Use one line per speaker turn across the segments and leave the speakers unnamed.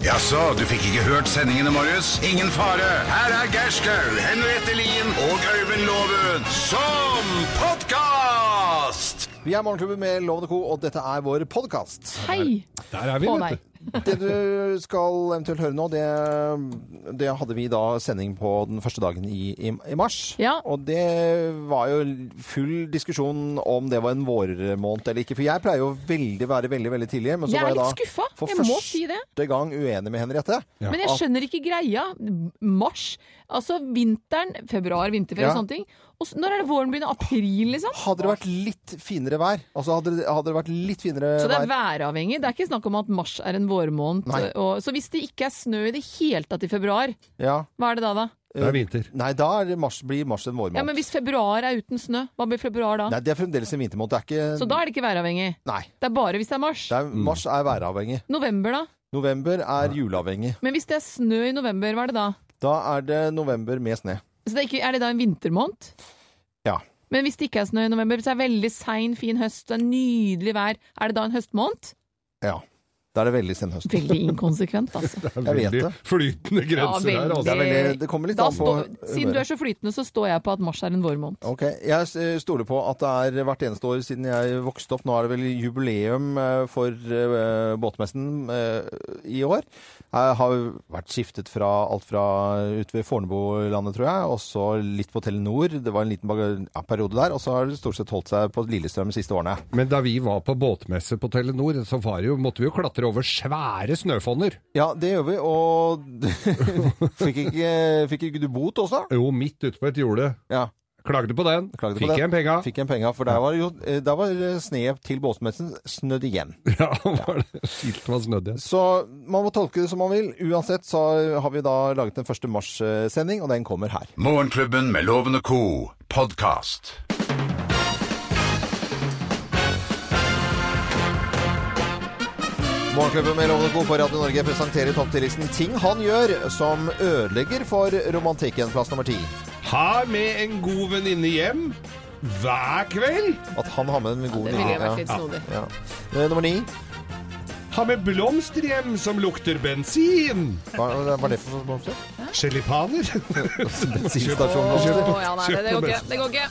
Jaså, du fikk ikke hørt sendingene, Marius? Ingen fare. Her er Gerskaug, Henriette Lien og Øyvind Låven som podkast!
Vi er Morgenklubben med Lovende Co, og dette er vår podkast.
Hei!
Der er vi,
Å nei.
vet du.
Det du skal eventuelt høre nå, det, det hadde vi da sending på den første dagen i, i, i mars.
Ja.
Og det var jo full diskusjon om det var en vårmåned eller ikke. For jeg pleier jo veldig være veldig veldig tidlig. Men så
Jeg er
var jeg da
litt skuffa,
for
jeg må si det.
første gang uenig med Henriette.
Ja.
Men jeg skjønner ikke greia. Mars, altså vinteren, februar, vinterferie
Ja.
og sånne ting. Og så, når er det våren begynner? April, liksom?
Hadde det vært litt finere vær, altså hadde, det- hadde det vært litt finere
Så det er
vær
væravhengig. Det er ikke snakk om at mars er en vårmåned.
Nei.
Og, så hvis det ikke er snø i det hele tatt i februar,
ja.
hva er det da, da?
Det er vinter.
Nei, da er det mars, blir mars en vårmåned.
Ja, Men hvis februar er uten snø, hva blir februar da?
Nei, det er fremdeles en vintermåned. Det er ikke
Så da er det ikke væravhengig.
Nei.
Det er bare hvis det er mars.
Det er, mars er væravhengig.
November, da?
November er juleavhengig.
Men hvis det er snø i november, hva er det da?
Da er det november med sne.
Så det er, ikke, er det da en vintermåned?
Ja.
Men hvis det ikke er snø i november, så er det veldig sein, fin høst, det er nydelig vær. Er det da en høstmåned?
ja. Da er det veldig sen høst.
Veldig inkonsekvent, altså.
Det er
Jeg vet
veldig
det.
flytende grenser
Ja,
her,
Det,
altså.
er veldig, det kommer litt
Da
an på
stå, siden du er så flytende, så står jeg på at mars er en vårmåned.
Ok, Jeg eh, stoler på at det er hvert eneste år siden jeg vokste opp. Nå er det vel jubileum eh, for eh, båtmessen eh, i år. Jeg har vært skiftet fra alt fra ute ved Fornebulandet, tror jeg, og så litt på Telenor. Det var en liten baga- ja, periode der. Og så har det stort sett holdt seg på Lillestrøm de siste årene.
Men da vi var på båtmesse på Telenor, så var det jo, måtte vi jo klatre over svære snøfonner.
Ja, det gjør vi, og fikk ikke, fikk ikke du bot også?
Jo, midt ute på et jorde.
Ja,
Klagde på den.
klagde på
Fikk
det.
en penga.
Fikk en penga, for der var, jo, eh, der var sne til båtmessen snødd igjen.
Ja, var det. Skilt var snødd igjen.
Så man må tolke det som man vil. Uansett så har vi da laget en 1. mars-sending, og den kommer her.
Morgenklubben med Loven og co. podkast.
Morgenklubben med Lovende Co. på Radio Norge presenterer topp 10-listen ting han gjør som ødelegger for romantikken. Plass nummer ti.
Har med en god venninne hjem hver kveld.
At han har med en god
Det ville vært litt
Ja.
snodig.
Ja. Eh, Nummer ni.
Har med blomster hjem som lukter bensin.
Hva hva er det for blomster?
Sjelipaner.
Bensinstasjonen.
Å, ja, nei, det, det går ikke. Det går ikke.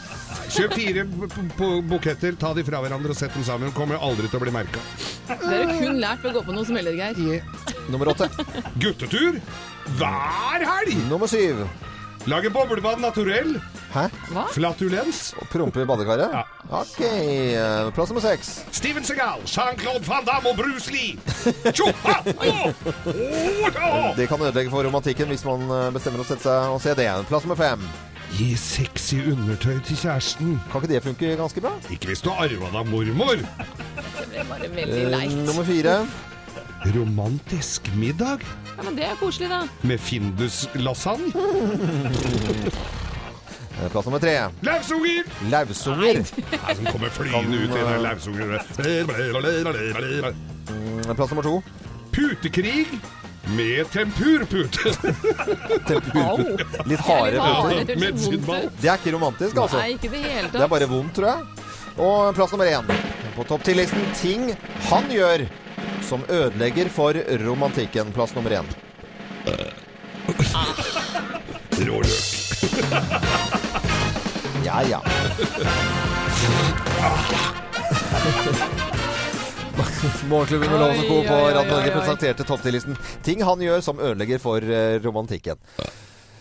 Kjøp fire b- b- buketter, ta de fra hverandre og sett dem sammen. Kommer aldri til å bli merka.
Det har du kun lært ved å gå på noe som heller, Geir.
Nummer åtte.
Guttetur hver helg.
Nummer syv.
Lage boblebad naturell.
Hæ?
Flatulens.
Prompe i badekaret?
Ja.
Ok. eh, Plass nummer seks.
Steven Segal, Jean-Claude Van Damme og Bruce Lee. Tjoha! Åh! Åh, da!
Det kan ødelegge for romantikken hvis man eh, bestemmer å sette seg og se det. Plass nummer fem.
Gi sexy undertøy til kjæresten.
Kan ikke det funke ganske bra?
Ikke hvis du har arva det av mormor.
Det var veldig
Eh,
leit.
Nummer fire.
Romantisk middag
Ja, men det er koselig, da.
med Findus-lasagne.
Eh, Plass nummer tre.
Lausunger!
Lausunger.
Nei, Som kommer flyende ut i den lausungen.
Eh, Plass nummer to.
Putekrig med tempurpute.
Au!
Litt harde
Harde.
puter.
Det gjør så
med
vondt.
sidball.
Det er ikke romantisk, altså.
Nei, ikke i det hele
Det er
tatt.
bare vondt, tror jeg. Og plass nummer én på topp 10-listen ting han gjør som ødelegger for romantikken. Plass nummer én.
Råløk.
Ja, ja. Morgenklubben med Lovende Co.
Oi,
på
oi, oi,
Radio
oi,
Norge
oi.
presenterte topp 10-listen ting han gjør som ødelegger for eh, romantikken.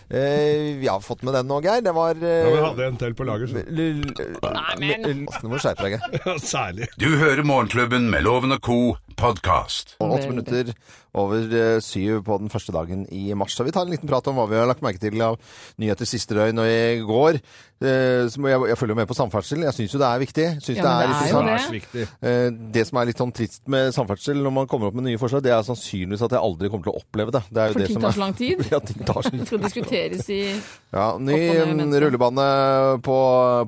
Eh, vi har fått med den nå, Geir. Det var eh,
Ja, vi hadde en til på lager, så.
l- l-
men-
l- Nå må du skjerpe deg, Geir.
Ja, Særlig.
Du hører Morgenklubben med Loven og co. podkast.
Og Åtte minutter over eh, syv på den første dagen i mars. Så vi tar en liten prat om hva vi har lagt merke til av nyheter siste døgn og i går. Eh, så må jeg, jeg følger jo med på samferdsel. Jeg syns jo det er viktig. Synes det
Ja, men
er
det er jo
interessant.
det.
Svært viktig.
Eh, Det som er litt sånn trist med samferdsel når man kommer opp med nye forslag, det er sannsynligvis at jeg aldri kommer til å oppleve det. det, er jo
For
det
ting
som
tar
er-
så lang tid.
Ja, ting tar så lang
Det
tid.
skal diskuteres i
Ja, ny
Opp og ned i
mm,
mente.
rullebane på,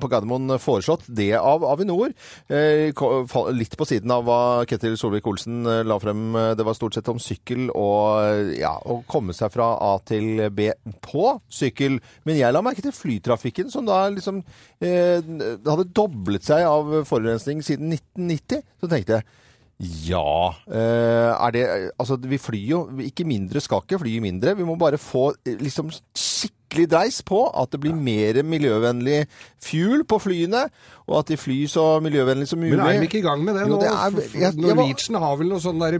på Gardermoen eh, foreslått, det av Avinor. Eh, ko- fa- litt på siden av hva Ketil Solvik-Olsen eh, la frem. Eh, Det var stort sett om sykkel og eh, ja, å komme seg fra A til B på sykkel. Men jeg la merke til flytrafikken, som da liksom eh, hadde doblet seg av forurensning siden 1990. Så tenkte jeg Ja. eh, er det Altså, vi flyr jo Ikke mindre skal ikke fly mindre. Vi må bare få eh, liksom skikkelig dreis på at det blir mer miljøvennlig fuel på flyene, og at de flyr så miljøvennlig som mulig.
Men er de ikke i gang med det
Jo,
nå?
det er-
F-
jeg- jeg var-
Norwegian har vel noen sånne der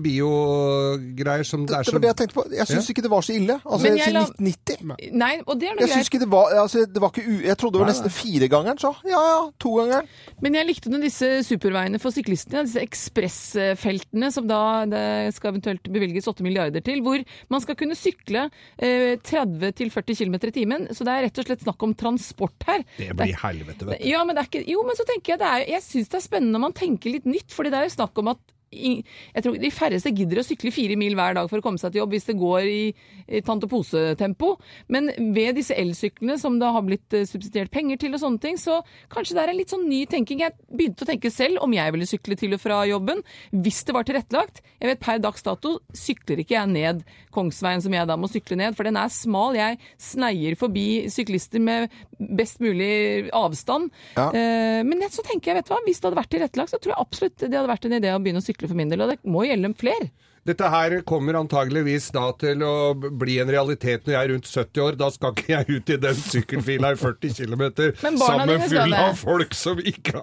biogreier som det er sånn-
Det
så
var det jeg tenkte på. Jeg syns ikke det var så ille. Altså,
Men
siden
jeg la-
1990.
Nei, og det er noe
Jeg syns
greit.
ikke det var altså, det var ikke u... Jeg trodde det var
Nei,
nesten firegangeren, så. Ja ja, togangeren.
Men jeg likte når disse superveiene for syklistene, disse ekspressfeltene som da det skal eventuelt bevilges 8 milliarder til, hvor man skal kunne sykle eh, 30-40 km i timen. Så det er rett og slett snakk om transport her.
Det blir helvete, vet du.
Ja, men det er ikke, jo, men så tenker jeg det er, jeg synes det er spennende når man tenker litt nytt, fordi det er jo snakk om at i, jeg tror de færreste gidder å sykle fire mil hver dag for å komme seg til jobb hvis det går i, i tante pose-tempo. Men ved disse elsyklene som det har blitt eh, subsidiert penger til og sånne ting, så kanskje det er en litt sånn ny tenking. Jeg begynte å tenke selv om jeg ville sykle til og fra jobben hvis det var tilrettelagt. Jeg vet per dags dato sykler ikke jeg ned Kongsveien som jeg da må sykle ned, for den er smal. Jeg sneier forbi syklister med best mulig avstand.
Ja.
Eh, Men jeg, så tenker jeg, vet du hva, hvis det hadde vært tilrettelagt, så tror jeg absolutt det hadde vært en idé å begynne å sykle for min del. Og det må gjelde flere.
Dette her kommer antageligvis da til å bli en realitet når jeg er rundt 70 år. Da skal ikke jeg ut i den sykkelfila i 40 km
Men barna
sammen
dine skal
full
det.
av folk som ikke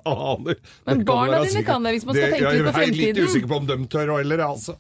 Men
aner. Det kommer
barna
da
dine
sikkert-
kan det, hvis man skal tenke litt på
Jeg er
fremtiden.
litt usikker på om de tør heller, altså.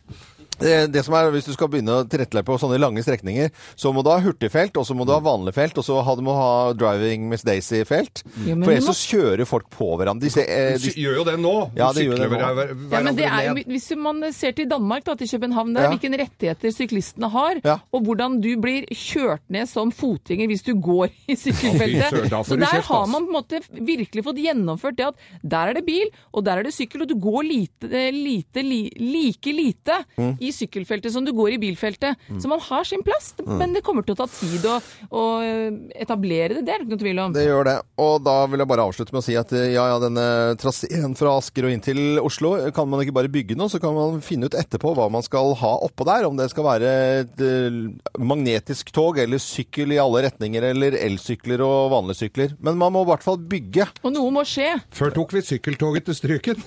Det, det som er, Hvis du skal begynne å tilrettelegge på sånne lange strekninger, så må du ha hurtigfelt, og så må du
Mm.
ha vanlig felt, og så ha- du må ha driving Miss Daisy-felt.
Ja, men
For
du
ellers
må-
så kjører folk på hverandre. De, ser, eh,
De
de,
gjør jo det nå. De
Ja, de gjør
sykler
det nå.
hver- hver-
Ja, men det
hverandre
er, jo-
ned.
hvis man ser til Danmark, da, til København, der,
Ja.
hvilke rettigheter syklistene har,
Ja.
og hvordan du blir kjørt ned som fotgjenger hvis du går i
Å, fy søren,
sykkelfeltet.
da får
Så
du
der
kjeft,
har
altså.
man på en måte virkelig fått gjennomført det at der er det bil, og der er det sykkel, og du går lite, eh, lite, li, like lite
Mm.
i sykkelfeltet som du går i bilfeltet. Så man har sin plass,
Mm.
men det kommer til å ta tid å, å eh, etablere det, det er det ikke noe tvil om.
det gjør det. Og da vil jeg bare avslutte med å si at eh, ja, ja, denne traseen fra Asker og inn til Oslo eh, kan man ikke bare bygge nå, så kan man finne ut etterpå hva man skal ha oppå der. Om det skal være et eh, magnetisk tog eller sykkel i alle retninger, eller elsykler og vanlige sykler. Men man må i hvert fall bygge.
Og noe må skje.
Før tok vi sykkeltoget til Stryken.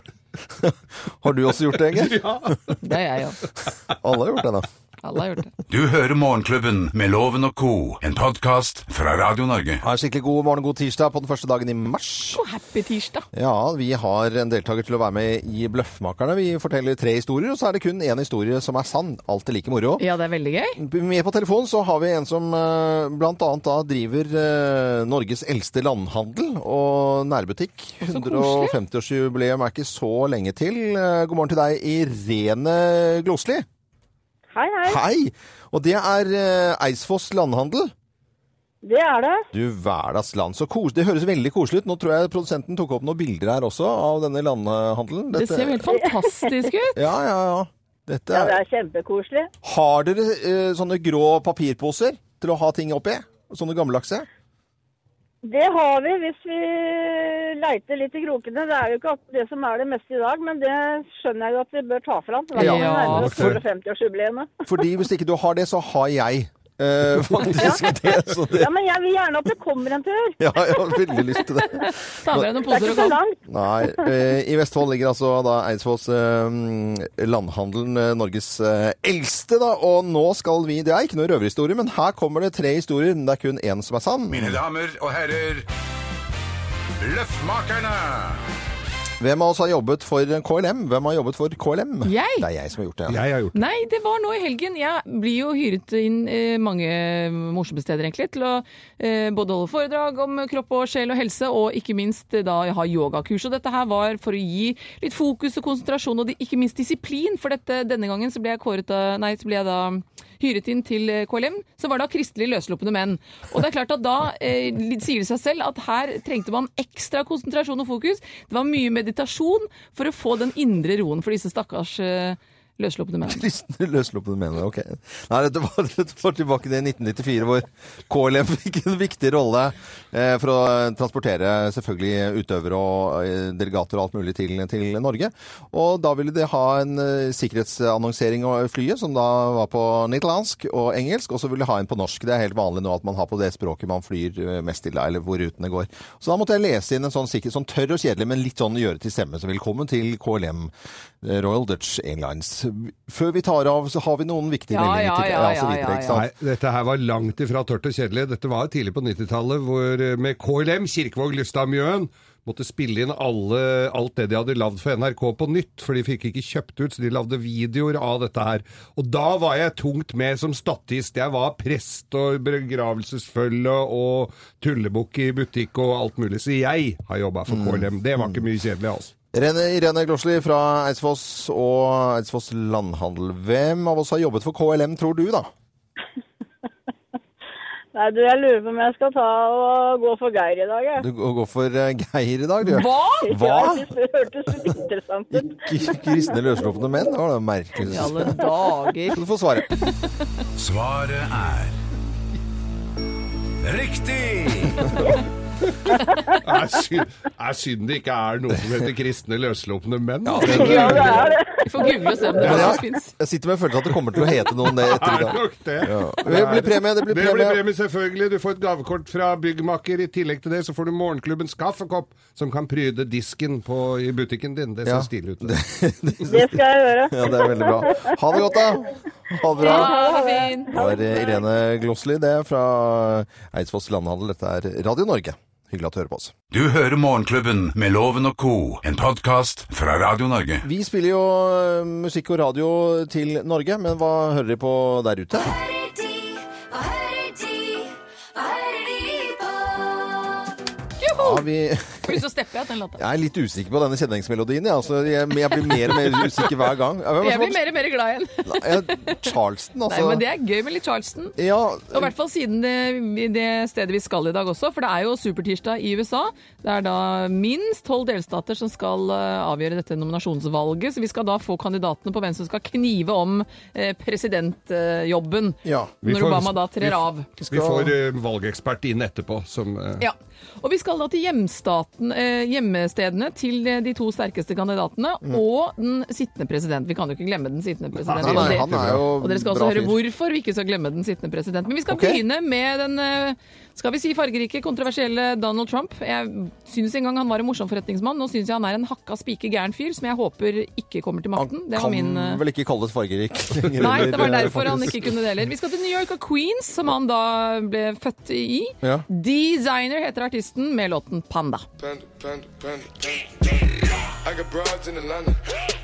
Har du også gjort det, Inge?
Det har jeg òg.
Alle har gjort det, da.
Alle har gjort det.
Du hører Morgenklubben med Loven og co., en podkast fra Radio Norge.
Ha en skikkelig god morgen og god tirsdag på den første dagen i mars.
Og happy tirsdag.
Ja, vi har en deltaker til å være med i Bløffmakerne. Vi forteller tre historier, og så er det kun én historie som er sann. Alltid like moro.
Ja, det er veldig gøy.
Med på telefon så har vi en som eh, blant annet da driver eh, Norges eldste landhandel og nærbutikk.
Så koselig.
150-årsjubileum er ikke så lenge til. Eh, God morgen til deg, Irene Glosli.
Hei, hei.
Hei! Og det er eh, Eidsfoss landhandel.
Det er det.
Du hverdags land, så kos... Det høres veldig koselig ut. Nå tror jeg produsenten tok opp noen bilder her også av denne landhandelen.
Det ser jo helt fantastisk ut.
Ja, ja, ja. Dette
Ja,
er...
det er kjempekoselig.
Har dere eh, sånne grå papirposer til å ha ting oppi? Sånne gammeldagse?
Det har vi hvis vi leiter litt i krokene. Det er jo ikke akkurat det som er det meste i dag, men det skjønner jeg jo at vi bør ta fram. Det
Ja.
var nærmere
Hvorfor?
250-årsjubileet.
Fordi hvis ikke du har det, så har jeg eh, faktisk det. Så det...
Ja, men jeg vil gjerne at det kommer en tur.
Ja, jeg har veldig lyst til det.
Ta med deg noen
Det er
poser
ikke
og
så
kom.
langt.
Nei, eh, i Vestfold ligger altså da Eidsvolls eh, landhandelen, eh, Norges eh, eldste da, og nå skal vi, det er ikke noe røverhistorie, men her kommer det tre historier, men det er kun en som er sann.
Mine damer og herrer, Løffmakerne!
Hvem av oss har jobbet for KLM? Hvem har jobbet for KLM?
Jeg.
Det er jeg som har gjort det.
Jeg har gjort det.
Nei, det var nå i helgen. Jeg blir jo hyret inn eh, mange morsomme steder egentlig, til å eh, både holde foredrag om kropp og sjel og helse, og ikke minst eh, da jeg har yogakurs. Og dette her var for å gi litt fokus og konsentrasjon, og di- ikke minst disiplin. For dette, denne gangen så ble jeg, kåret av, nei, så ble jeg da hyret inn til eh, KLM, så var det da kristelige løsluppende menn. Og det er klart at da eh, sier det seg selv at her trengte man ekstra konsentrasjon og fokus. Det var mye meditasjon for å få den indre roen for disse stakkars eh, Løsslupne menn.
Kristne løsslupne menn. Ok. Nei, dette var, dette var tilbake til 1994, hvor KLM fikk en viktig rolle eh, for å transportere selvfølgelig utøvere og eh, delegater og alt mulig til, til Norge. Og da ville de ha en eh, sikkerhetsannonsering av flyet, som da var på nederlandsk og engelsk, og så ville de ha en på norsk. Det er helt vanlig nå at man har på det språket man flyr eh, mest til, da, eller hvor rutene går. Så da måtte jeg lese inn en sånn sikker, sånn tørr og kjedelig, men litt sånn gjøre til stemme. Så velkommen til KLM eh, Royal Dutch Airlines. Før vi tar av, så har vi noen viktige
Ja,
meldinger til
ja, ja,
så videre,
ja,
ikke
ja.
sant?
Nei, dette her var langt ifra tørt og kjedelig. Dette var tidlig på 90-tallet, hvor eh, med KLM, Kirkevåg, Lystad, Mjøen, måtte spille inn alle, alt det de hadde lagd for NRK på nytt, for de fikk ikke kjøpt ut, så de lagde videoer av dette her. Og da var jeg tungt med som statist. Jeg var prest og begravelsesfølge og tullebukk i butikk og alt mulig. Så jeg har jobba
Mm.
for KLM. Det var ikke mye kjedelig, altså.
Irene, Irene Glosli fra Eidsfoss og Eidsfoss Landhandel. Hvem av oss har jobbet for KLM, tror du da?
Nei, du, jeg lurer på om jeg skal ta og gå for Geir i dag, jeg.
Du går for eh, Geir i dag, du.
Hva?!
Hva?
Ja, jeg synes Det hørtes litt interessant ut.
Ikke Kristne løsslupne menn? Det var det merkelig.
I alle dager.
Du får svare.
Svaret er Riktig!
Det er synd, det er synd det ikke er noe som heter kristne løsslupne menn.
Ja, det er det.
Vi får google og se om det
Men
faktisk
jeg,
fins.
jeg sitter med en følelse at det kommer til å hete noen det
Det
etter i
er
dag.
nok det.
Det blir premie, det blir
Det blir
premie.
premie, selvfølgelig. Du får et gavekort fra byggmaker. I tillegg til det så får du morgenklubbens kaffekopp, som kan pryde disken på, i butikken din. Det ser
Ja.
stilig ut. Det.
Det skal jeg gjøre.
Ja, det er veldig bra. Ha det godt, da. Ha det bra.
Ha Ah, det fint.
Det var eh, Irene Glossli, det, fra Eidsvolls Landhandel. Dette er Radio Norge. Hyggelig at du hører på oss.
Du hører Morgenklubben med Loven og Co., en podkast fra Radio Norge.
Vi spiller jo eh, musikk og radio til Norge, men hva hører de på der ute?
hører de, hva hører de, hva hører de på?
Ja, vi
Plutselig så stepper jeg til den låta.
Jeg er litt usikker på denne kjenningsmelodien, jeg. Altså, jeg, men jeg blir mer og mer usikker hver gang. Ja, hvem er
Jeg
det
blir mer og mer glad igjen.
som- Ja, Charleston,
Nei, men
altså.
Det er gøy med litt Charleston.
Ja,
Og i hvert fall siden det, det stedet vi skal i dag også, for det er jo supertirsdag i USA. Det er da minst tolv delstater som skal eh, avgjøre dette nominasjonsvalget. Så vi skal da få kandidatene på hvem som skal knive om eh, presidentjobben
Ja.
Vi
når
får-
Obama da trer av.
Vi får eh, valgekspert inn etterpå, som eh,
Ja. Og vi skal da til hjemstaten, eh, hjemmestedene til eh, de to sterkeste kandidatene og den sittende president. Vi kan jo ikke glemme den sittende
Mm.
president.
Nei,
og
nei,
det-
han er jo
og dere skal
bra
også høre
fyr.
hvorfor vi ikke skal glemme den sittende president. Men vi skal
Ok.
begynne med den eh, skal vi si fargerike, kontroversielle Donald Trump. Jeg syns en gang han var en morsom forretningsmann. Nå syns jeg han er en hakka spike gæren fyr som jeg håper ikke kommer til makten. Det
kan
var min eh,
vel ikke kalles fargerik. lenger,
Nei, det var
eller,
derfor han
faktisk.
ikke kunne det heller. Vi skal til New York og Queens, som han da ble født i.
Ja.
Designer heter artisten med låten Panda.
Panda, panda, panda. I got broads in Atlanta.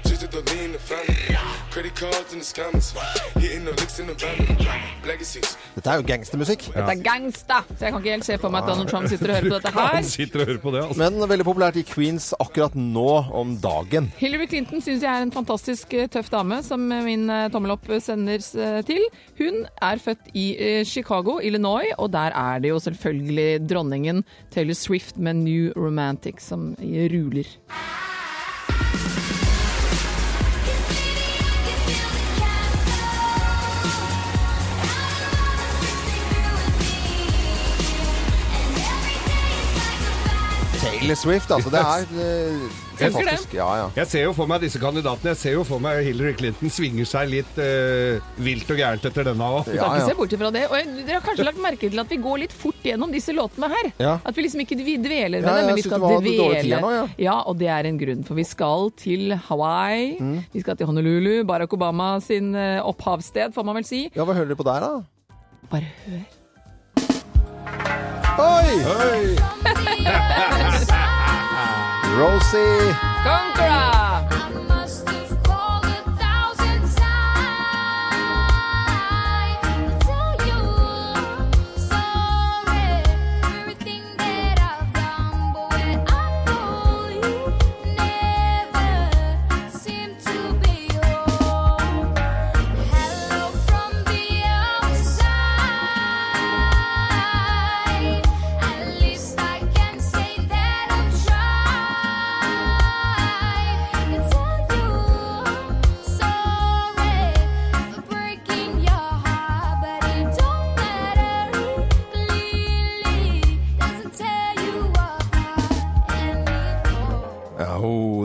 Just at the lean the family. Credit cards in the scammers. Hitting the licks in the van. Legacies.
Dette er jo gangstermusikk.
Dette er gangsta! Så jeg kan ikke helt se for meg at Donald Trump sitter og hører på dette
Han
her.
sitter og hører på det. Altså.
Men veldig populært i Queens akkurat nå om dagen.
Hillary Clinton syns jeg er en fantastisk eh, tøff dame, som eh, min eh, tommel opp eh, sender eh, til. Hun er født i eh, Chicago, Illinois, og der er det jo selvfølgelig dronningen Taylor Swift med New Romantic som ruler.
Taylor Swift, altså. Det er eh,
Elsker det.
fantastisk. Ja, ja.
Jeg ser jo for meg disse kandidatene. Jeg ser jo for meg Hillary Clinton svinger seg litt eh, vilt og gærent etter denne òg.
Du kan
Ja, ja.
ikke se bort ifra det. Og jeg- dere har kanskje lagt merke til at vi går litt fort gjennom disse låtene her.
Ja.
At vi liksom ikke vi dveler ved
Ja,
det,
jeg
men vi
synes
skal
det var litt dårlig tid her
dvele.
nå, ja.
og det er en grunn. For vi skal til Hawaii,
Mm.
vi skal til Honolulu, Barack Obama sin eh, opphavssted, får man vel si.
ja, hva hører dere på der, da?
Bare hør.
Oi! Rosie!
Conqueror!
I must have called a thousand times to tell you sorry everything that I've done, but when I call you, never seem to be home. Hello from the outside. At least I can say that I've tried.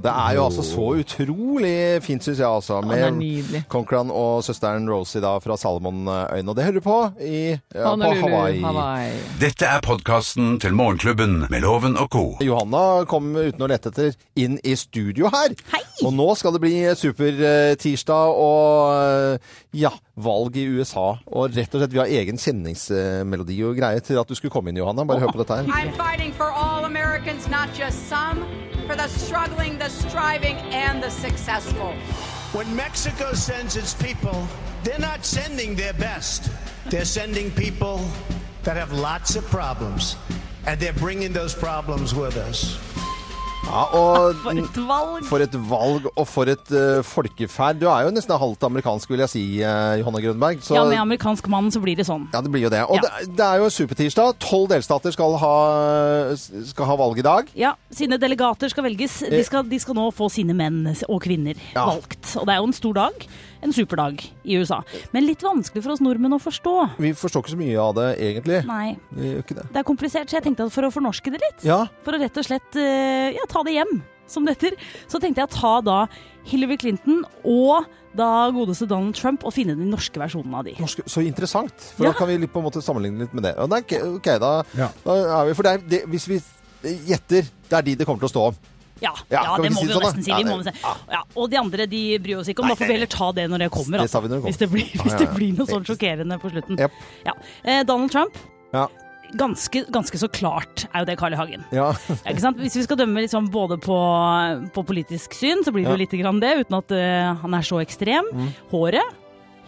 Det er jo altså så utrolig fint, syns jeg, altså.
det er nydelig.
Conkran og søsteren Rosie da fra Salomonøyene. Og det hører du på i ja, på
Honolulu,
Hawaii.
Hawaii.
Dette er podkasten til Morgenklubben med Loven og co.
Johanna kom uten å lette etter inn i studio her.
Hei!
Og nå skal det bli supertirsdag og eh, ja, valg i USA. Og rett og slett, vi har egen kjenningsmelodi og greie til at du skulle komme inn, Johanna. Bare hør på dette her.
I'm fighting for all Americans, not just some, for the struggling, the striving, and the successful.
When Mexico sends its people, they're not sending their best. They're sending people that have lots of problems, and they're bringing those problems with us.
Ja, og
For et valg!
for et valg og for et eh, folkeferd. Du er jo nesten halvt amerikansk, vil jeg si, eh, Johanna Grønberg. Så
Ja, med amerikansk mann så blir det sånn.
Ja, det blir jo det. Og
Ja.
det, det er jo supertirsdag. Tolv delstater skal ha, skal ha valg i dag. Eh.
Ja, sine delegater skal velges. De skal, de skal nå få sine menn og kvinner
Ja.
valgt. Og det er jo en stor dag. En superdag i USA. Men litt vanskelig for oss nordmenn å forstå.
Vi forstår ikke så mye av det, egentlig.
Nei,
Vi gjør ikke det.
det er komplisert, så jeg tenkte at for å fornorske det litt,
Ja,
for å rett og slett eh, ja, ta det hjem, som det heter, så tenkte jeg å ta da Hillary Clinton og da godeste Donald Trump og finne den norske versjonen av de.
norsk, så interessant. For
Ja.
da kan vi litt, på en måte sammenligne litt med det. Og det er ikke- ok, da,
Ja.
da er vi For det er, det, hvis vi gjetter, det er de det kommer til å stå om.
Ja,
Ja,
ja,
kan vi ikke
det må
si
vi
det
jo
sånn, da?
nesten si.
Ja,
Vi må
det-
nesten. Ja, og de andre de bryr oss ikke om.
Nei,
Da får vi heller ta det når det kommer.
Det
altså.
tar vi når det kommer.
Hvis det blir, hvis
ja,
det
ja.
blir noe sånn sjokkerende på slutten.
Jep.
Ja. Eh, Donald Trump,
Ja.
ganske, ganske så klart er jo det Carl I. Hagen.
ja.
Ja, ikke sant? Hvis vi skal dømme liksom både på, på politisk syn, så blir det
Ja. Mm.
jo lite grann det, uten at eh, han er så ekstrem. Håret,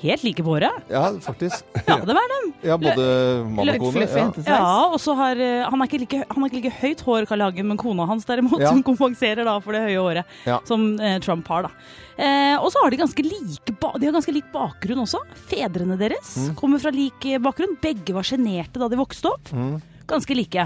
helt like på håret.
Ja, faktisk.
Ja, det var dem.
Ja, både mann og
Litt
kone.
fluffy
Ja.
jentesveis.
Ja, og så har eh, han er, ikke like, han er ikke like høyt hår, Carl I. Hagen, men kona hans derimot,
Ja.
som kompenserer da for det høye håret
Ja.
som eh, Trump har. da. Eh, og så har de ganske, like ba de har ganske lik bakgrunn også. Fedrene deres
Mm.
kommer fra lik eh, bakgrunn. Begge var sjenerte da de vokste opp.
Mm.
Ganske like.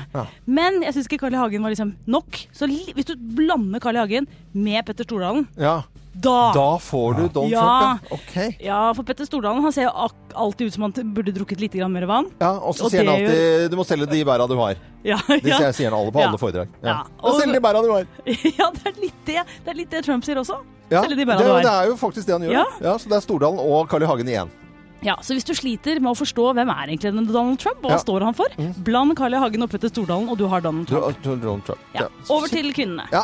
Men jeg syns ikke Carl I. Hagen var liksom nok. Så li hvis du blander Carl I. Hagen med Petter Stordalen,
Ja.
da
Da får du Donald
Ja.
Trump, ja. Ok.
Ja, for Petter Stordalen han ser jo ak- alltid ut som han t- burde drukket litt grann mer vann.
Ja, og så
Og
sier han
det
alltid 'du må selge de bæra du har'.
Ja,
Det
ja.
sier- sier han alle på
Ja.
alle foredrag.
Ja.
Og
Og-
selge de bæra du har.
Ja, det er litt det, det, er litt det Trump sier også.
Ja,
Selge de
det,
bæra
er
du
jo-
har.
det er jo faktisk det han gjør.
Ja.
da. Ja, så det er Stordalen og Carl I. Hagen igjen.
Ja, Så hvis du sliter med å forstå hvem er egentlig denne Donald Trump,
Ja.
og
Mm.
hva står han for, bland Carl I. Hagen og Petter Stordalen, og du har Donald
Du,
Trump.
Donald Trump.
Ja. Over til kvinnene.
Ja.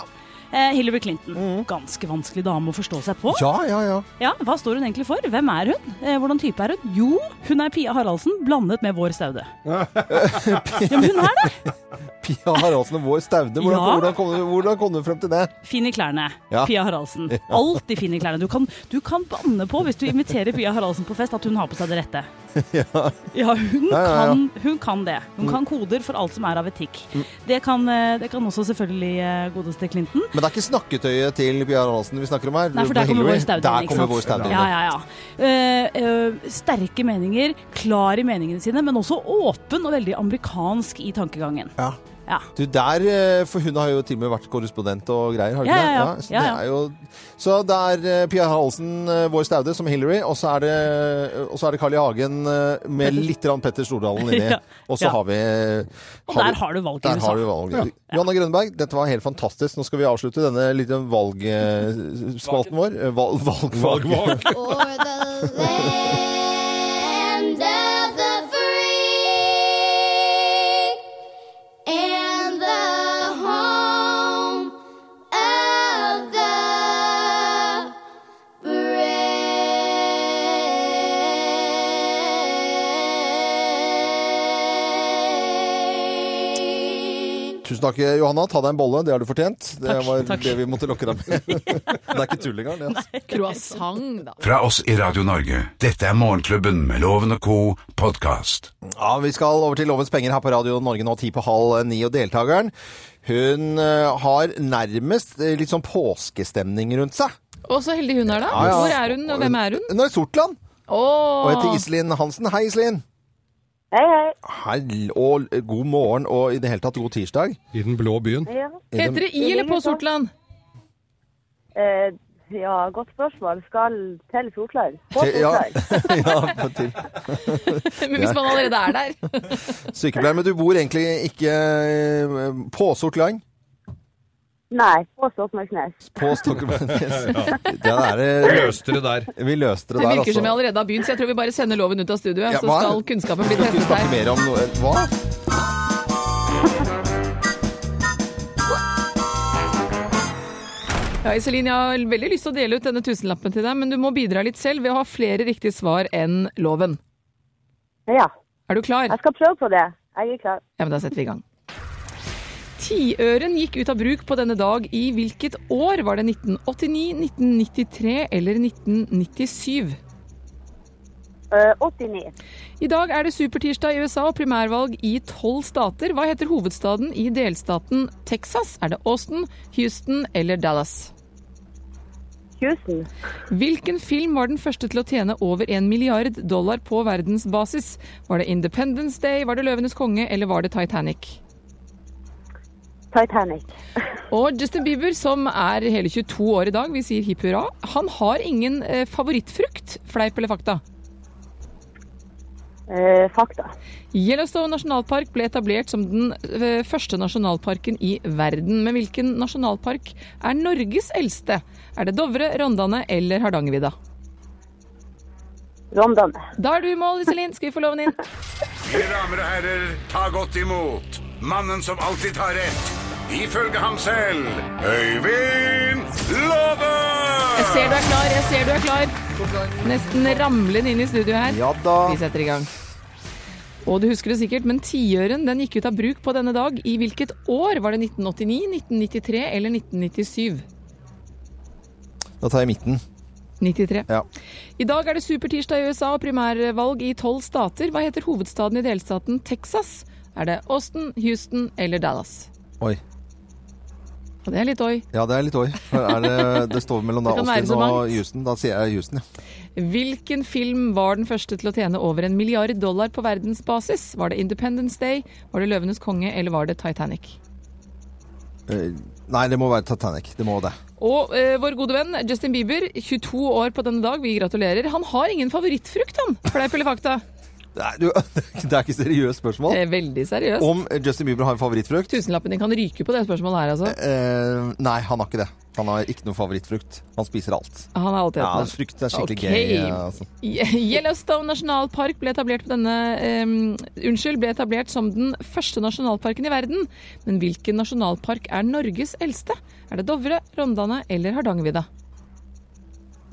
Eh, Hillary Clinton.
Mm.
Ganske vanskelig dame å forstå seg på.
ja, ja, ja.
Ja, Hva står hun egentlig for? Hvem er hun? Eh, hvordan type er hun? Jo, hun er Pia Haraldsen blandet med Vår Staude. ja, men hun er det!
Pia Haraldsen og Vår Staude. Hvordan,
Ja.
hvordan, kom, du- hvordan kom du frem til det?
Fin i klærne,
Ja.
Pia Haraldsen. Alltid fin i klærne. Du kan, du kan banne på, hvis du inviterer Pia Haraldsen på fest, at hun har på seg det rette. Ja, hun,
Ja, ja, ja.
Kan, hun kan det. Hun kan koder for alt som er av etikk.
Mm.
Det kan, eh, det kan også selvfølgelig eh, godeste Clinton.
Men det er ikke snakketøyet til Pia Haraldsen vi snakker om her.
Nei, for der kommer
Hillary.
Vår Staude
Der
inn, ikke
kommer
sant?
Vår Staude inn,
Ja, ja, ja. Eh, eh, sterke meninger, klar i meningene sine, men også åpen og veldig amerikansk i tankegangen.
Ja.
Ja.
Du, der, eh, for hun har jo til og med vært korrespondent og greier, har hun
Ja,
ikke det?
ja, ja.
så,
Ja, ja.
Det er jo, så det er eh, Pia Haraldsen, eh, Vår Staude, som Hillary, og så er det, og så er det Carl I. Hagen eh, med litt grann Petter Stordalen inni.
Ja,
Og så
ja.
har vi
Og
har
der
vi-
har du valget liksom. i
Der har
USA.
du valget. Johanna Grønberg, dette var helt fantastisk. Nå skal vi avslutte denne lille valgspalten vår. Eh, Valg, valg,
For
valg.
the land of the free and the home of the brave.
Tusen takk, eh, Johanna. Ta deg en bolle, det har du fortjent. Det
Takk,
var
takk.
det vi måtte lokke deg med. det er ikke tull engang. det, Altså.
Croissant, da.
Fra oss i Radio Norge. Dette er Morgenklubben med Loven og co. podkast.
Ja, vi skal over til Lovens penger her på Radio Norge nå ti på halv ni, og deltakeren hun eh, har nærmest eh, litt sånn påskestemning rundt seg.
Å, så heldig hun er, da.
Ja, ja.
Hvor er hun, og hvem er hun?
Hun er i Sortland og heter
Åh,
Iselin Hansen. Hei, Iselin.
Hei, hei.
Hei, og god morgen og i det hele tatt god tirsdag.
I den blå byen.
Ja,
heter det I eller på Sortland?
eh, ja godt spørsmål. Skal til Sortland? På
Til- ja.
Sortland.
ja, til
Men hvis man allerede er der.
sykepleier. Men du bor egentlig ikke eh, på Sortland?
Nei, på Stokmarknes.
På Stokmarknes. Det der
Vi løste det der.
Vi løste det der,
Det virker som jeg
altså.
allerede har begynt, så jeg tror vi bare sender loven ut av studioet,
Ja,
så
hva?
skal kunnskapen bli
Skal ikke
testet
snakke
her.
mer om noe. Hva?
Ja, Iselin, jeg har veldig lyst til å dele ut denne tusenlappen til deg, men du må bidra litt selv ved å ha flere riktige svar enn loven.
Ja.
Er du klar?
Jeg skal prøve på det. Jeg er klar.
Ja, men da setter vi i gang. Tiøren gikk ut av bruk på denne dag i hvilket år? Var det 1989, 1993 eller 1997?
Eh, 89.
I dag er det supertirsdag i USA og primærvalg i tolv stater. Hva heter hovedstaden i delstaten Texas? Er det Austin, Houston eller Dallas?
Houston.
Hvilken film var den første til å tjene over en milliard dollar på verdensbasis? Var det Independence Day, var det Løvenes konge eller var det Titanic?
Titanic.
Og Justin Bieber, som er hele 22 år i dag, vi sier hipp hurra, han har ingen eh, favorittfrukt, fleip eller fakta?
Eh, fakta.
Yellowstone nasjonalpark ble etablert som den eh, første nasjonalparken i verden. Men hvilken nasjonalpark er Norges eldste? Er det Dovre, Rondane eller Hardangervidda?
Rondane.
Da er du i mål, Iselin. Skal vi få loven inn?
Mine damer og herrer, ta godt imot mannen som alltid tar rett. Ifølge ham selv Øyvind Låve!
Jeg ser du er klar, jeg ser du er klar. Nesten ramlen inn i studio her.
Ja da.
Vi setter i gang. Og du husker det sikkert, men tiøren den gikk ut av bruk på denne dag. I hvilket år? Var det 1989, 1993 eller 1997?
Da tar jeg midten.
93.
Ja.
I dag er det supertirsdag i USA og primærvalg i tolv stater. Hva heter hovedstaden i delstaten Texas? Er det Austin, Houston eller Dallas?
Oi.
Og det er litt oi.
Ja, det er litt oi. For Er det, det står mellom da
Det kan være
Austin
så
og
mangt.
Houston. Da sier jeg Houston, ja.
Hvilken film var den første til å tjene over en milliard dollar på verdensbasis? Var det Independence Day, var det Løvenes konge eller var det Titanic?
Eh, Nei, det må være Titanic. Det må det.
Og eh, vår gode venn Justin Bieber, 22 år på denne dag, vi gratulerer. Han har ingen favorittfrukt, han. Fleip eller fakta?
Nei, du, det er ikke seriøst spørsmål.
Det er veldig seriøst.
Om Justin Bieber har en favorittfrukt?
Tusenlappen din kan ryke på det spørsmålet her, altså.
Eh, nei, han har ikke det. Han har ikke noe favorittfrukt. Han spiser alt.
Han har alltid hatt
ja, altså.
det.
Frukt er skikkelig
Ok.
gøy. eh, Altså.
Yellowstone nasjonalpark ble etablert på denne em, Unnskyld, ble etablert som den første nasjonalparken i verden. Men hvilken nasjonalpark er Norges eldste? Er det Dovre, Rondane eller Hardangervidda?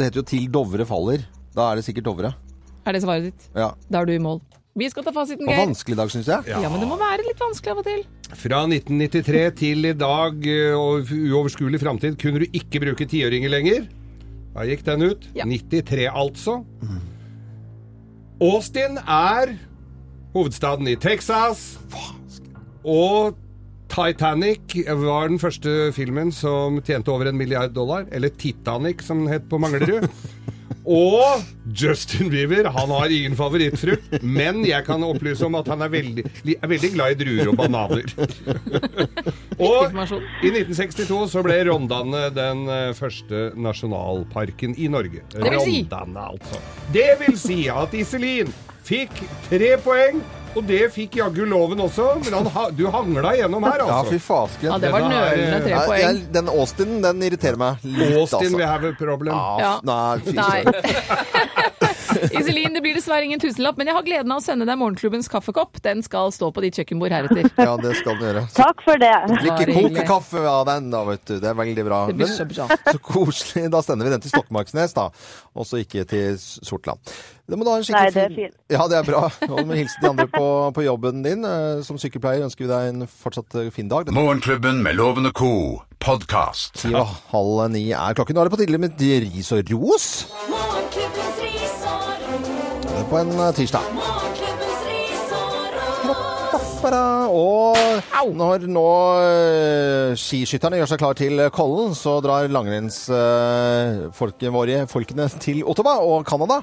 Det heter jo 'Til Dovre faller'. Da er det sikkert Dovre.
Er det svaret ditt?
Ja.
Da er du i mål. Vi skal ta fasiten,
Og
Geir.
vanskelig i dag, syns jeg.
Ja, men det må være litt vanskelig av og til.
Fra 1993 til i dag eh, og uoverskuelig framtid kunne du ikke bruke tiøringer lenger. Da gikk den ut. 93, altså. Austin er hovedstaden i Texas. Og Titanic var den første filmen som tjente over en milliard dollar. Eller Titanic, som den het på Manglerud. Og Justin Bieber. Han har ingen favorittfrukt, men jeg kan opplyse om at han er veldig, er veldig glad i druer og bananer. Og i 1962 så ble Rondane den eh, første nasjonalparken i Norge.
Det vil si-
Rondane, altså. Det vil si at Iselin fikk tre poeng. Og det fikk jaggu loven også, men han, ha- du hangla gjennom her, altså.
Ja, fy fasken.
Denne her, eh,
Nei, jeg- Den Austin, den irriterer meg litt,
Austin,
altså.
we have a problem.
Ja, f- Nei, fy
Nei.
søren.
Iselin, det blir dessverre ingen tusenlapp, men jeg har gleden av å sende deg morgenklubbens kaffekopp. Den skal stå på ditt kjøkkenbord heretter.
Ja, det skal den gjøre.
Takk for det.
Drikke
hyggelig.
kokekaffe av den, da, vet du. Det er veldig bra.
Det blir så bra.
så koselig. Da sender vi den til Stokmarknes, da. Og så ikke til Sortland. Det må da ha
Nei,
en skikkelig
det er fint.
Ja, det er bra. Og du må hilse de andre på, på jobben din. Eh, Som sykepleier ønsker vi deg en fortsatt eh, fin dag.
Morgenklubben med Loven og co. podkast.
Ti og halv ni er klokken. Nå er det på tide med ris og ros.
Morgenklubbens ris og ros.
Det er På en eh, tirsdag.
Morgenklubbens ris og ros.
Para. Og når nå eh, skiskytterne gjør seg klar til Kollen, så drar langrennsfolkene våre folkene til Ottawa og Canada.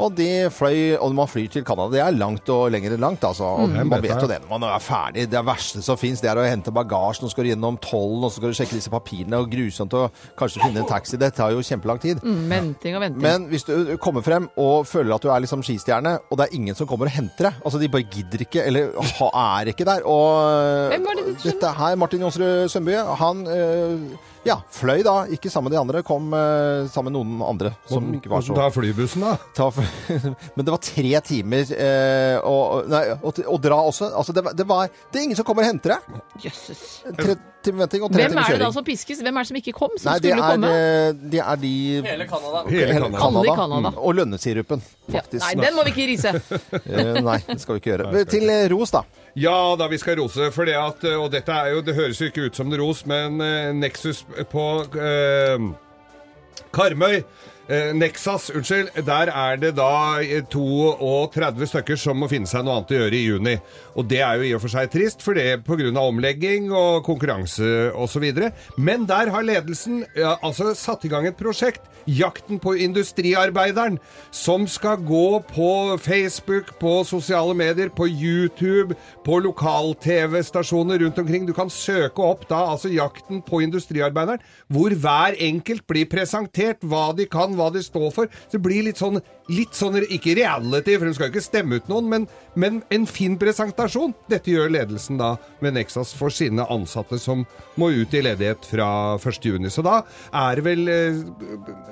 Og de fløy, og man flyr til Canada. Det er langt og lenger enn langt, altså. Og
Mm. Jeg
man
vet
vet
det.
jo det når man er ferdig. Det verste som fins, det er å hente bagasjen, og så skal du gjennom tollen, og så skal du sjekke disse papirene, og grusomt å kanskje finne en taxi. Det tar jo kjempelang tid.
Mm, venting og venting.
Men hvis du kommer frem og føler at du er liksom skistjerne, og det er ingen som kommer og henter deg, altså de bare gidder ikke, eller ha, er ikke der. Og
Hvem var det du skjønner?
dette her, Martin Jonsrud Sundby, han eh, ja, fløy da, ikke sammen med de andre, kom eh, sammen med noen andre som ikke var så
Ta flybussen, da.
Ta fly- Men det var tre timer eh, å, nei, å, å dra også. Altså, det, var- det, var, det er ingen som kommer og henter deg.
Jøsses.
Tre timer venting og tre
Hvem
timer
er det
kjøring.
da som piskes? Hvem er det som ikke kom, som
Nei, det
skulle
er,
komme?
eh, det er de
Hele Canada.
Hele
Alle i
Canada.
Canada.
Mm. Og lønnesirupen, faktisk.
Ja. Nei, den må vi ikke rise.
Eh, Nei, det skal vi ikke gjøre. Til eh, ros, da.
Ja da, vi skal rose for det at eh, Og dette er jo, det høres jo ikke ut som det ros, men eh, Nexus på eh, Karmøy eh, Nexas, unnskyld. Der er det da eh, 32 stykker som må finne seg noe annet å gjøre i juni. Og det er jo i og for seg trist, for det pga. omlegging og konkurranse osv. Men der har ledelsen ja, altså satt i gang et prosjekt, Jakten på industriarbeideren, som skal gå på Facebook, på sosiale medier, på YouTube, på lokal-TV-stasjoner rundt omkring. Du kan søke opp da altså Jakten på industriarbeideren, hvor hver enkelt blir presentert, hva de kan, hva de står for. Så Det blir litt sånn, litt sånn ikke reality, for hun skal jo ikke stemme ut noen, men, men en fin presentasjon. Dette gjør ledelsen da ved Nexas for sine ansatte som må ut i ledighet fra 1.6. Så da er vel eh,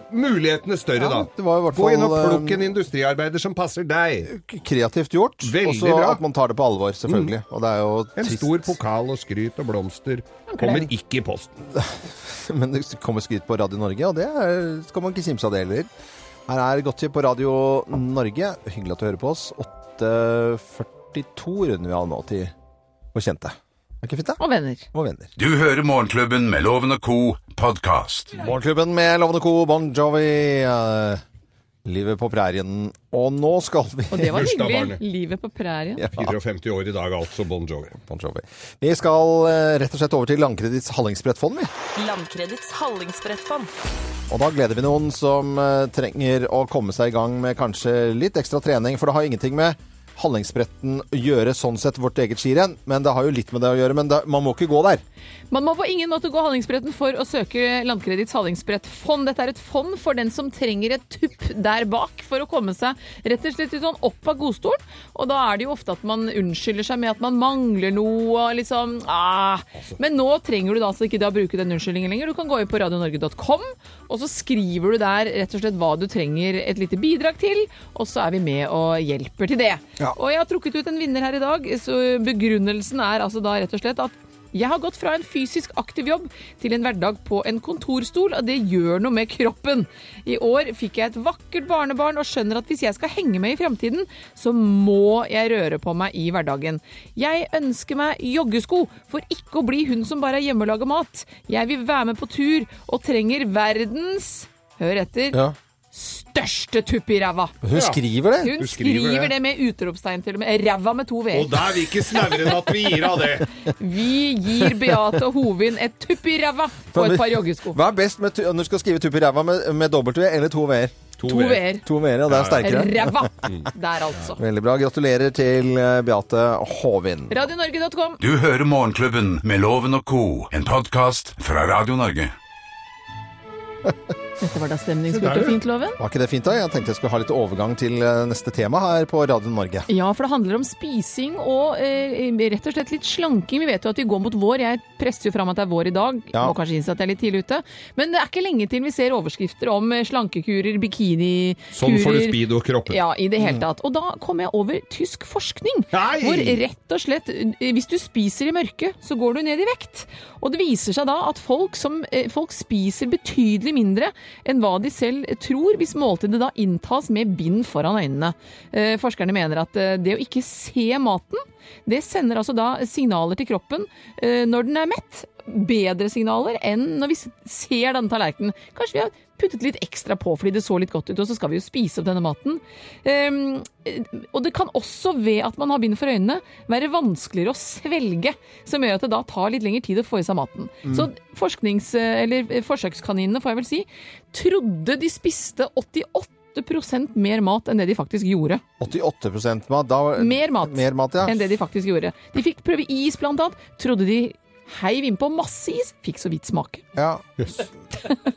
mulighetene større,
Ja,
da.
det var i hvert
Gå inn og
fall, eh,
plukk en industriarbeider som passer deg.
Kreativt gjort.
Veldig
Også
bra. Mm.
at man tar det på alvor, selvfølgelig. Og det er jo
En
trist.
stor pokal og skryt og blomster kommer ikke i posten.
Men det kommer skryt på Radio Norge, og det er, skal man ikke kimse av det heller. Her er Godtid på Radio Norge. Hyggelig at du hører på oss. 8.42 runder vi av nå til vår kjente. Er ikke fint, da?
Og venner.
Og venner.
Du hører Morgenklubben med Loven og Co. podkast.
Morgenklubben med Lovende Co, Bon Jovi. eh, Livet på prærien. Og nå skal vi
Og det var hyggelig. Livet på prærien.
54 år i dag, altså Bon Jovi.
Bon Jovi. Vi skal eh, rett og slett over til Landkreditts Hallingsbrettfond, vi.
Landkredits hallingsbrettfond.
Og da gleder vi noen som eh, trenger å komme seg i gang med kanskje litt ekstra trening, for det har jo ingenting med Hallingsbretten å gjøre, sånn sett vårt eget skirenn, men det har jo litt med det å gjøre. Men det, man må ikke gå der.
Man må på ingen måte gå Hallingsbretten for å søke Landkreditts Hallingsbrettfond. Dette er et fond for den som trenger et tupp der bak for å komme seg rett og slett litt sånn opp av godstolen. Og da er det jo ofte at man unnskylder seg med at man mangler noe og liksom ah. Men nå trenger du da altså ikke da bruke den unnskyldningen lenger. Du kan gå inn på radionorge.com, og så skriver du der rett og slett hva du trenger et lite bidrag til, og så er vi med og hjelper til det. Og jeg har trukket ut en vinner her i dag, så begrunnelsen er altså da rett og slett at jeg har gått fra en fysisk aktiv jobb til en hverdag på en kontorstol, og det gjør noe med kroppen. I år fikk jeg et vakkert barnebarn og skjønner at hvis jeg skal henge med i fremtiden, så må jeg røre på meg i hverdagen. Jeg ønsker meg joggesko, for ikke å bli hun som bare er hjemme og lager mat. Jeg vil være med på tur og trenger verdens Hør etter. Største tupp i ræva.
Hun skriver det.
Hun, skriver, det. med utropstegn til og med. Ræva med to v-er.
Og da er vi ikke snauere enn at vi gir av det.
Vi gir Beate Hovin et tupp i ræva og et par joggesko.
Hva er best med, tu- når du skal skrive tupp i ræva med, med dobbelt V eller to V-er?
To
E.
E. V-er. V-er.
To V-er, ja. Mm. Det er sterkere.
Ræva. Der, altså.
Veldig bra. Gratulerer til eh, Beate Håvin.
Radionorge.com.
Du hører Morgenklubben med Loven og Co., en podkast fra Radio Norge.
Dette var da stemningsfullt og fint, Loven.
Var ikke det fint, da? Jeg tenkte jeg skulle ha litt overgang til eh, neste tema her på Radio Norge.
Ja, for det handler om spising og eh, rett og slett litt slanking. Vi vet jo at vi går mot vår. Jeg presser jo fram at det er vår i dag. Må kanskje innse at jeg er litt tidlig ute. Men det er ikke lenge til vi ser overskrifter om eh, slankekurer, bikinikurer
Sånn får du speed og kroppen.
Ja, i det hele tatt. Og da kom jeg over tysk forskning. Hvor rett og slett, eh, hvis du spiser i mørket, så går du ned i vekt. Og det viser seg da at folk, som, eh, folk spiser betydelig mindre enn hva de selv tror, hvis måltidet da inntas med bind foran øynene. Eh, Forskerne mener at eh, det å ikke se maten, det sender altså da signaler til kroppen eh, når den er mett. Bedre signaler enn når vi s- ser denne tallerkenen. Kanskje vi har puttet litt ekstra på fordi det så litt godt ut, og så skal vi jo spise opp denne maten. Ehm, eh, og det kan også ved at man har bind for øynene være vanskeligere å svelge, som gjør at det da tar litt lengre tid å få i seg maten.
Mm.
Så forsknings- eh, eller forsøkskaninene, får jeg vel si, trodde de spiste 88 mer mat enn det de faktisk gjorde.
88 mat. Da,
Mer mat,
Mer mat, ja.
enn det de faktisk gjorde. De fikk prøve is blant annet, trodde de Heiv innpå masse is, fikk så vidt smake.
Ja.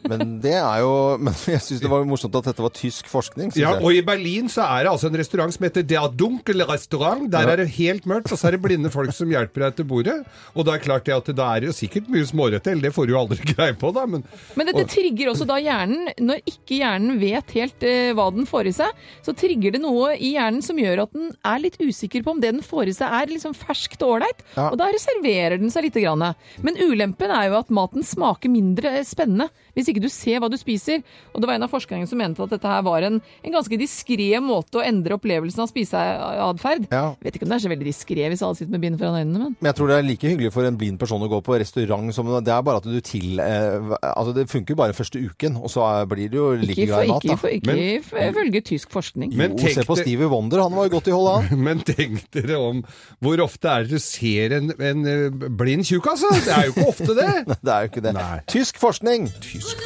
Men det er jo Men jeg syns det var morsomt at dette var tysk forskning. synes
Ja,
jeg.
og i Berlin så er det altså en restaurant som heter Der Dunkel Restaurant. Der
Ja.
er det helt mørkt, og så er det blinde folk som hjelper deg til bordet. Og da er klart det at da er det jo sikkert mye smårettell, det får du jo aldri greie på da, men
Men dette
og-
trigger også da hjernen, når ikke hjernen vet helt eh, hva den får i seg, så trigger det noe i hjernen som gjør at den er litt usikker på om det den får i seg er liksom ferskt og ålreit,
Ja.
og da reserverer den seg litt. Grann. Men ulempen er jo at maten smaker mindre eh, spennende hvis ikke du ser hva du spiser. Og det var en av forskerne som mente at dette her var en, en ganske diskré måte å endre opplevelsen av spiseatferd. Vet ikke om det er så veldig diskré hvis alle sitter med bind foran øynene, men
Men jeg tror det er like hyggelig for en blind person å gå på restaurant som Det er bare at du til eh, Altså, det funker jo bare første uken, og så er, blir det jo like
ikke, for,
glad i mat, da.
ikke, for, ikke ifølge tysk forskning.
Men
jo, se
tenk
på
det-
Stevie Wonder, han var jo godt i hold, han.
Men tenk dere om hvor ofte er det du ser en, en eh, blind tjukk, altså? Det er jo ikke ofte det.
det er jo ikke det. Tysk forskning!
Tysk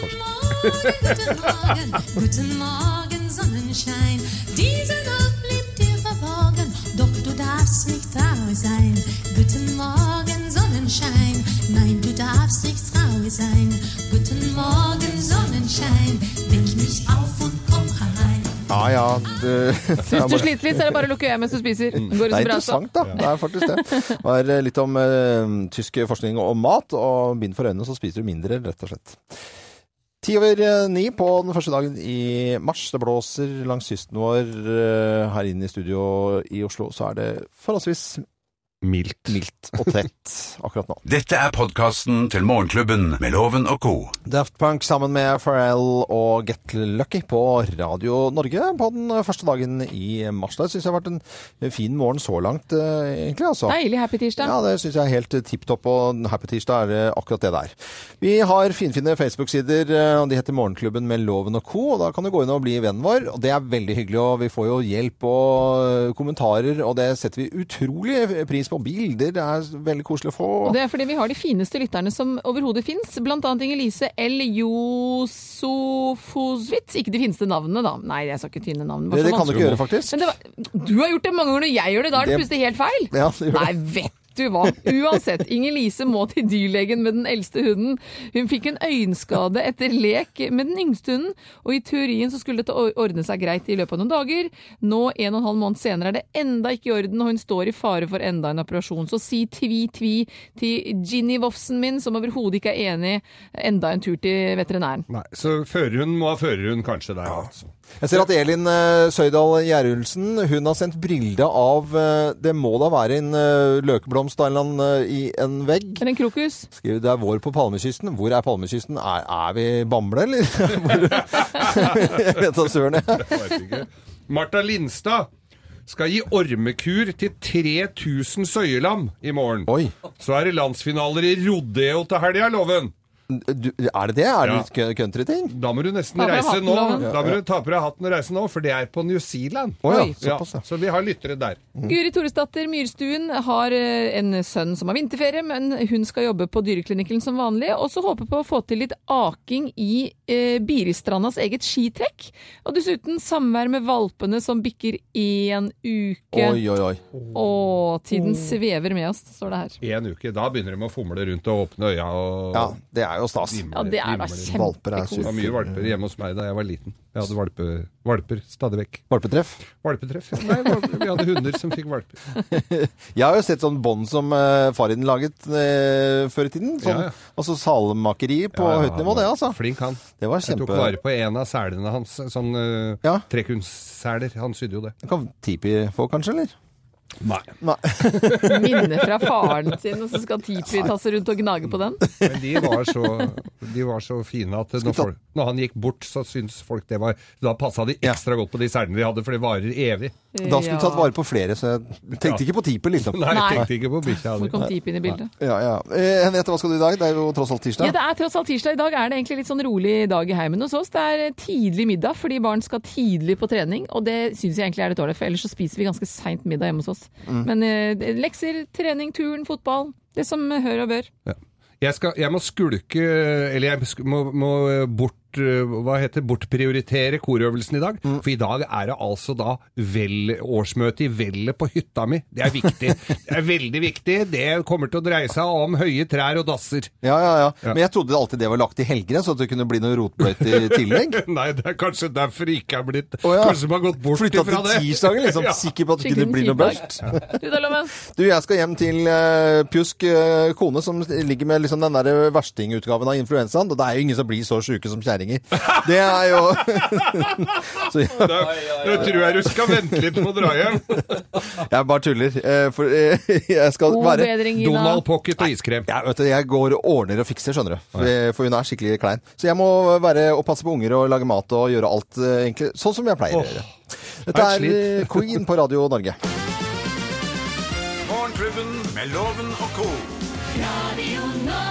Guten Morgen, guten Morgen, Sonnenschein. Diese Nacht blieb dir verborgen, doch du darfst nicht traurig sein. Guten Morgen, Sonnenschein. Nein, du darfst nicht traurig sein. Guten Morgen, Sonnenschein. Weck mich auf und komm herein.
Ja ja. det-
Hvis du sliter litt, så er det bare å lukke øyet mens du spiser. Går
Mm. Det
så
er
bra, så.
interessant, da. Det er faktisk det. Det var eh, litt om eh, tysk forskning og mat, og bind for øynene, så spiser du mindre, rett og slett. Ti over eh, ni på den første dagen i mars. Det blåser langs kysten vår. eh, Her inne i studio i Oslo så er det forholdsvis
mildt,
mildt og tett akkurat nå.
Dette er podkasten til Morgenklubben med Loven og co.
Daft Punk sammen med Pharrell og Get Lucky på Radio Norge på den første dagen i mars. Det syns jeg har vært en fin morgen så langt, eh, egentlig. altså.
Deilig happy tirsdag.
Ja, det syns jeg er helt tipp topp, og Happy Tirsdag er det akkurat det det er. Vi har finfine Facebook-sider, eh, og de heter Morgenklubben med Loven og co. og Da kan du gå inn og bli vennen vår, og det er veldig hyggelig. Og vi får jo hjelp og eh, kommentarer, og det setter vi utrolig pris på. Bilder det er veldig koselig å få.
Og det er fordi vi har de fineste lytterne som overhodet fins. Blant annet Inger-Lise L. Josofosvitz. Ikke de fineste navnene, da. Nei, jeg sa ikke tyne navn. var
Det-
så
det kan du ikke
vanskelig.
gjøre, faktisk.
Men det var, du har gjort det mange ganger når jeg gjør det. Da er det
Det-
plutselig helt feil.
Ja, det gjør det.
Nei, vet du hva. Uansett, Inger-Lise må til dyrlegen med den eldste hunden. Hun fikk en øyenskade etter lek med den yngste hunden, og i teorien så skulle dette or- ordne seg greit i løpet av noen dager. Nå, en og en halv måned senere, er det enda ikke i orden, og hun står i fare for enda en operasjon. Så si tvi-tvi til Ginny Wofsen min, som overhodet ikke er enig, enda en tur til veterinæren.
Nei, så førerhund må ha førerhund kanskje der, altså.
Jeg ser at Elin eh, Søydal Gjerulsen hun har sendt bilde av eh, Det må da være en eh, løkblomst av en eller annen eh, i en vegg.
Eller en krokus.
Skriver det er vår på Palmekysten. Hvor er Palmekysten? Er, er vi Bamble, eller? Hvor- jeg vet da søren, jeg.
Martha Lindstad skal gi ormekur til 3000 søyelam i morgen. Så er det landsfinaler i rodeo til helga, Loven.
er det det? Er det litt countryting?
Da må du nesten
Ta på deg
reise
hatten,
nå.
Loven.
Da må du ta på deg hatten og reise nå, for det er på New Zealand.
Å ja,
Ja,
såpass, ja.
så vi har lyttere der.
Mm.
Guri Toresdatter Myrstuen har eh, en sønn som har vinterferie, men hun skal jobbe på dyreklinikken som vanlig. Og så håper på å få til litt aking i eh, Biristrandas eget skitrekk. Og dessuten samvær med valpene som bikker én uke.
Oi, oi, oi.
Å, tiden svever med oss, står det her.
En uka. Da begynner de å fomle rundt og åpne øya og
Ja, det er jo stas.
Ja, det er da
Valper er
Det var mye valper hjemme hos meg da jeg var liten. Jeg hadde valpe, valper stadig vekk.
Valpetreff?
Valpetreff, ja. Nei, valper. Vi hadde hunder som fikk valper.
Jeg har jo sett sånn bånd som eh, far din laget eh, før i tiden. Sånn,
Ja, ja.
Altså salmakeri på
Ja, ja,
høyt nivå,
han var
det, altså.
Flink han.
Det var
Jeg tok
kjempe-
vare på en av selene hans, sånn uh,
Ja.
trekunstseler. Han sydde jo det.
Det kan Tipi få, kanskje, eller?
Nei.
Minne fra faren sin, og så skal Tipi tasse rundt og gnage på den.
Men de var så, de var så fine at når, folk, når han gikk bort, så syntes folk det var Da passa de ekstra godt på de selene de hadde, for det varer evig.
Da skulle du tatt vare på flere, så jeg tenkte ikke på Tipi, liksom.
Nei, jeg tenkte ikke på bikkja.
Hvor kom Tipi inn i bildet?
Ja, ja. Eh, Henriette, hva skal du i dag? Det er jo tross alt
Ja,
tirsdag.
det er tross alt tirsdag. I dag er det egentlig litt sånn rolig dag i heimen hos oss. Det er eh, tidlig middag, fordi barn skal tidlig på trening. Og det syns jeg egentlig er litt dårlig, for ellers så spiser vi ganske seint middag hjemme hos oss.
Mm.
Men eh, det- lekser, trening, turn, fotball. Det som hører og bør.
Jeg, skal, jeg må skulke Eller jeg sk- må, må bort bort, eh, hva heter, det, bortprioritere korøvelsen i dag.
Mm.
For i dag er det altså da vel, årsmøte i Vellet på hytta mi. Det er viktig. det er veldig viktig. Det kommer til å dreie seg om høye trær og dasser.
Ja, ja, ja. Men jeg trodde alltid det var lagt i helgene, så at det kunne bli noe rotbløyt i tillegg.
Nei, det er kanskje derfor det ikke er blitt
Å, ja.
Kanskje man har gått bort
Flytta
ifra
til
det.
tirsdagen, liksom. Sikker på at det ikke blir noe børst.
Du da, Loven?
Du, jeg skal hjem til eh, pjusk eh, kone, som ligger med liksom den der verstingutgaven av influensaen. Og det er jo ingen som blir så sjuke som kjerringer. Det er jo Så jeg-
Da, da tror jeg du skal vente litt med å dra hjem.
Jeg bare tuller. eh, For eh, jeg skal
God
være
bedring, Gina. Donald
Pocket og iskrem.
Jeg, vet du, jeg går og ordner og fikser, skjønner du. For, for hun er skikkelig klein. Så jeg må være og passe på unger og lage mat og gjøre alt eh, egentlig sånn som jeg pleier å gjøre. Dette
hardt
er eh,
slit.
Queen på Radio Norge.
Morgenklubben med Loven og co.
Radio Norge.